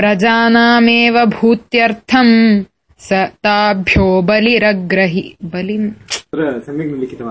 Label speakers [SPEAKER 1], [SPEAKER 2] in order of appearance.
[SPEAKER 1] प्रजानामेव भूत्यर्थम् स ताभ्यो बलिरग्रहि बलिम्
[SPEAKER 2] तत्र सम्यक् न लिखितवान्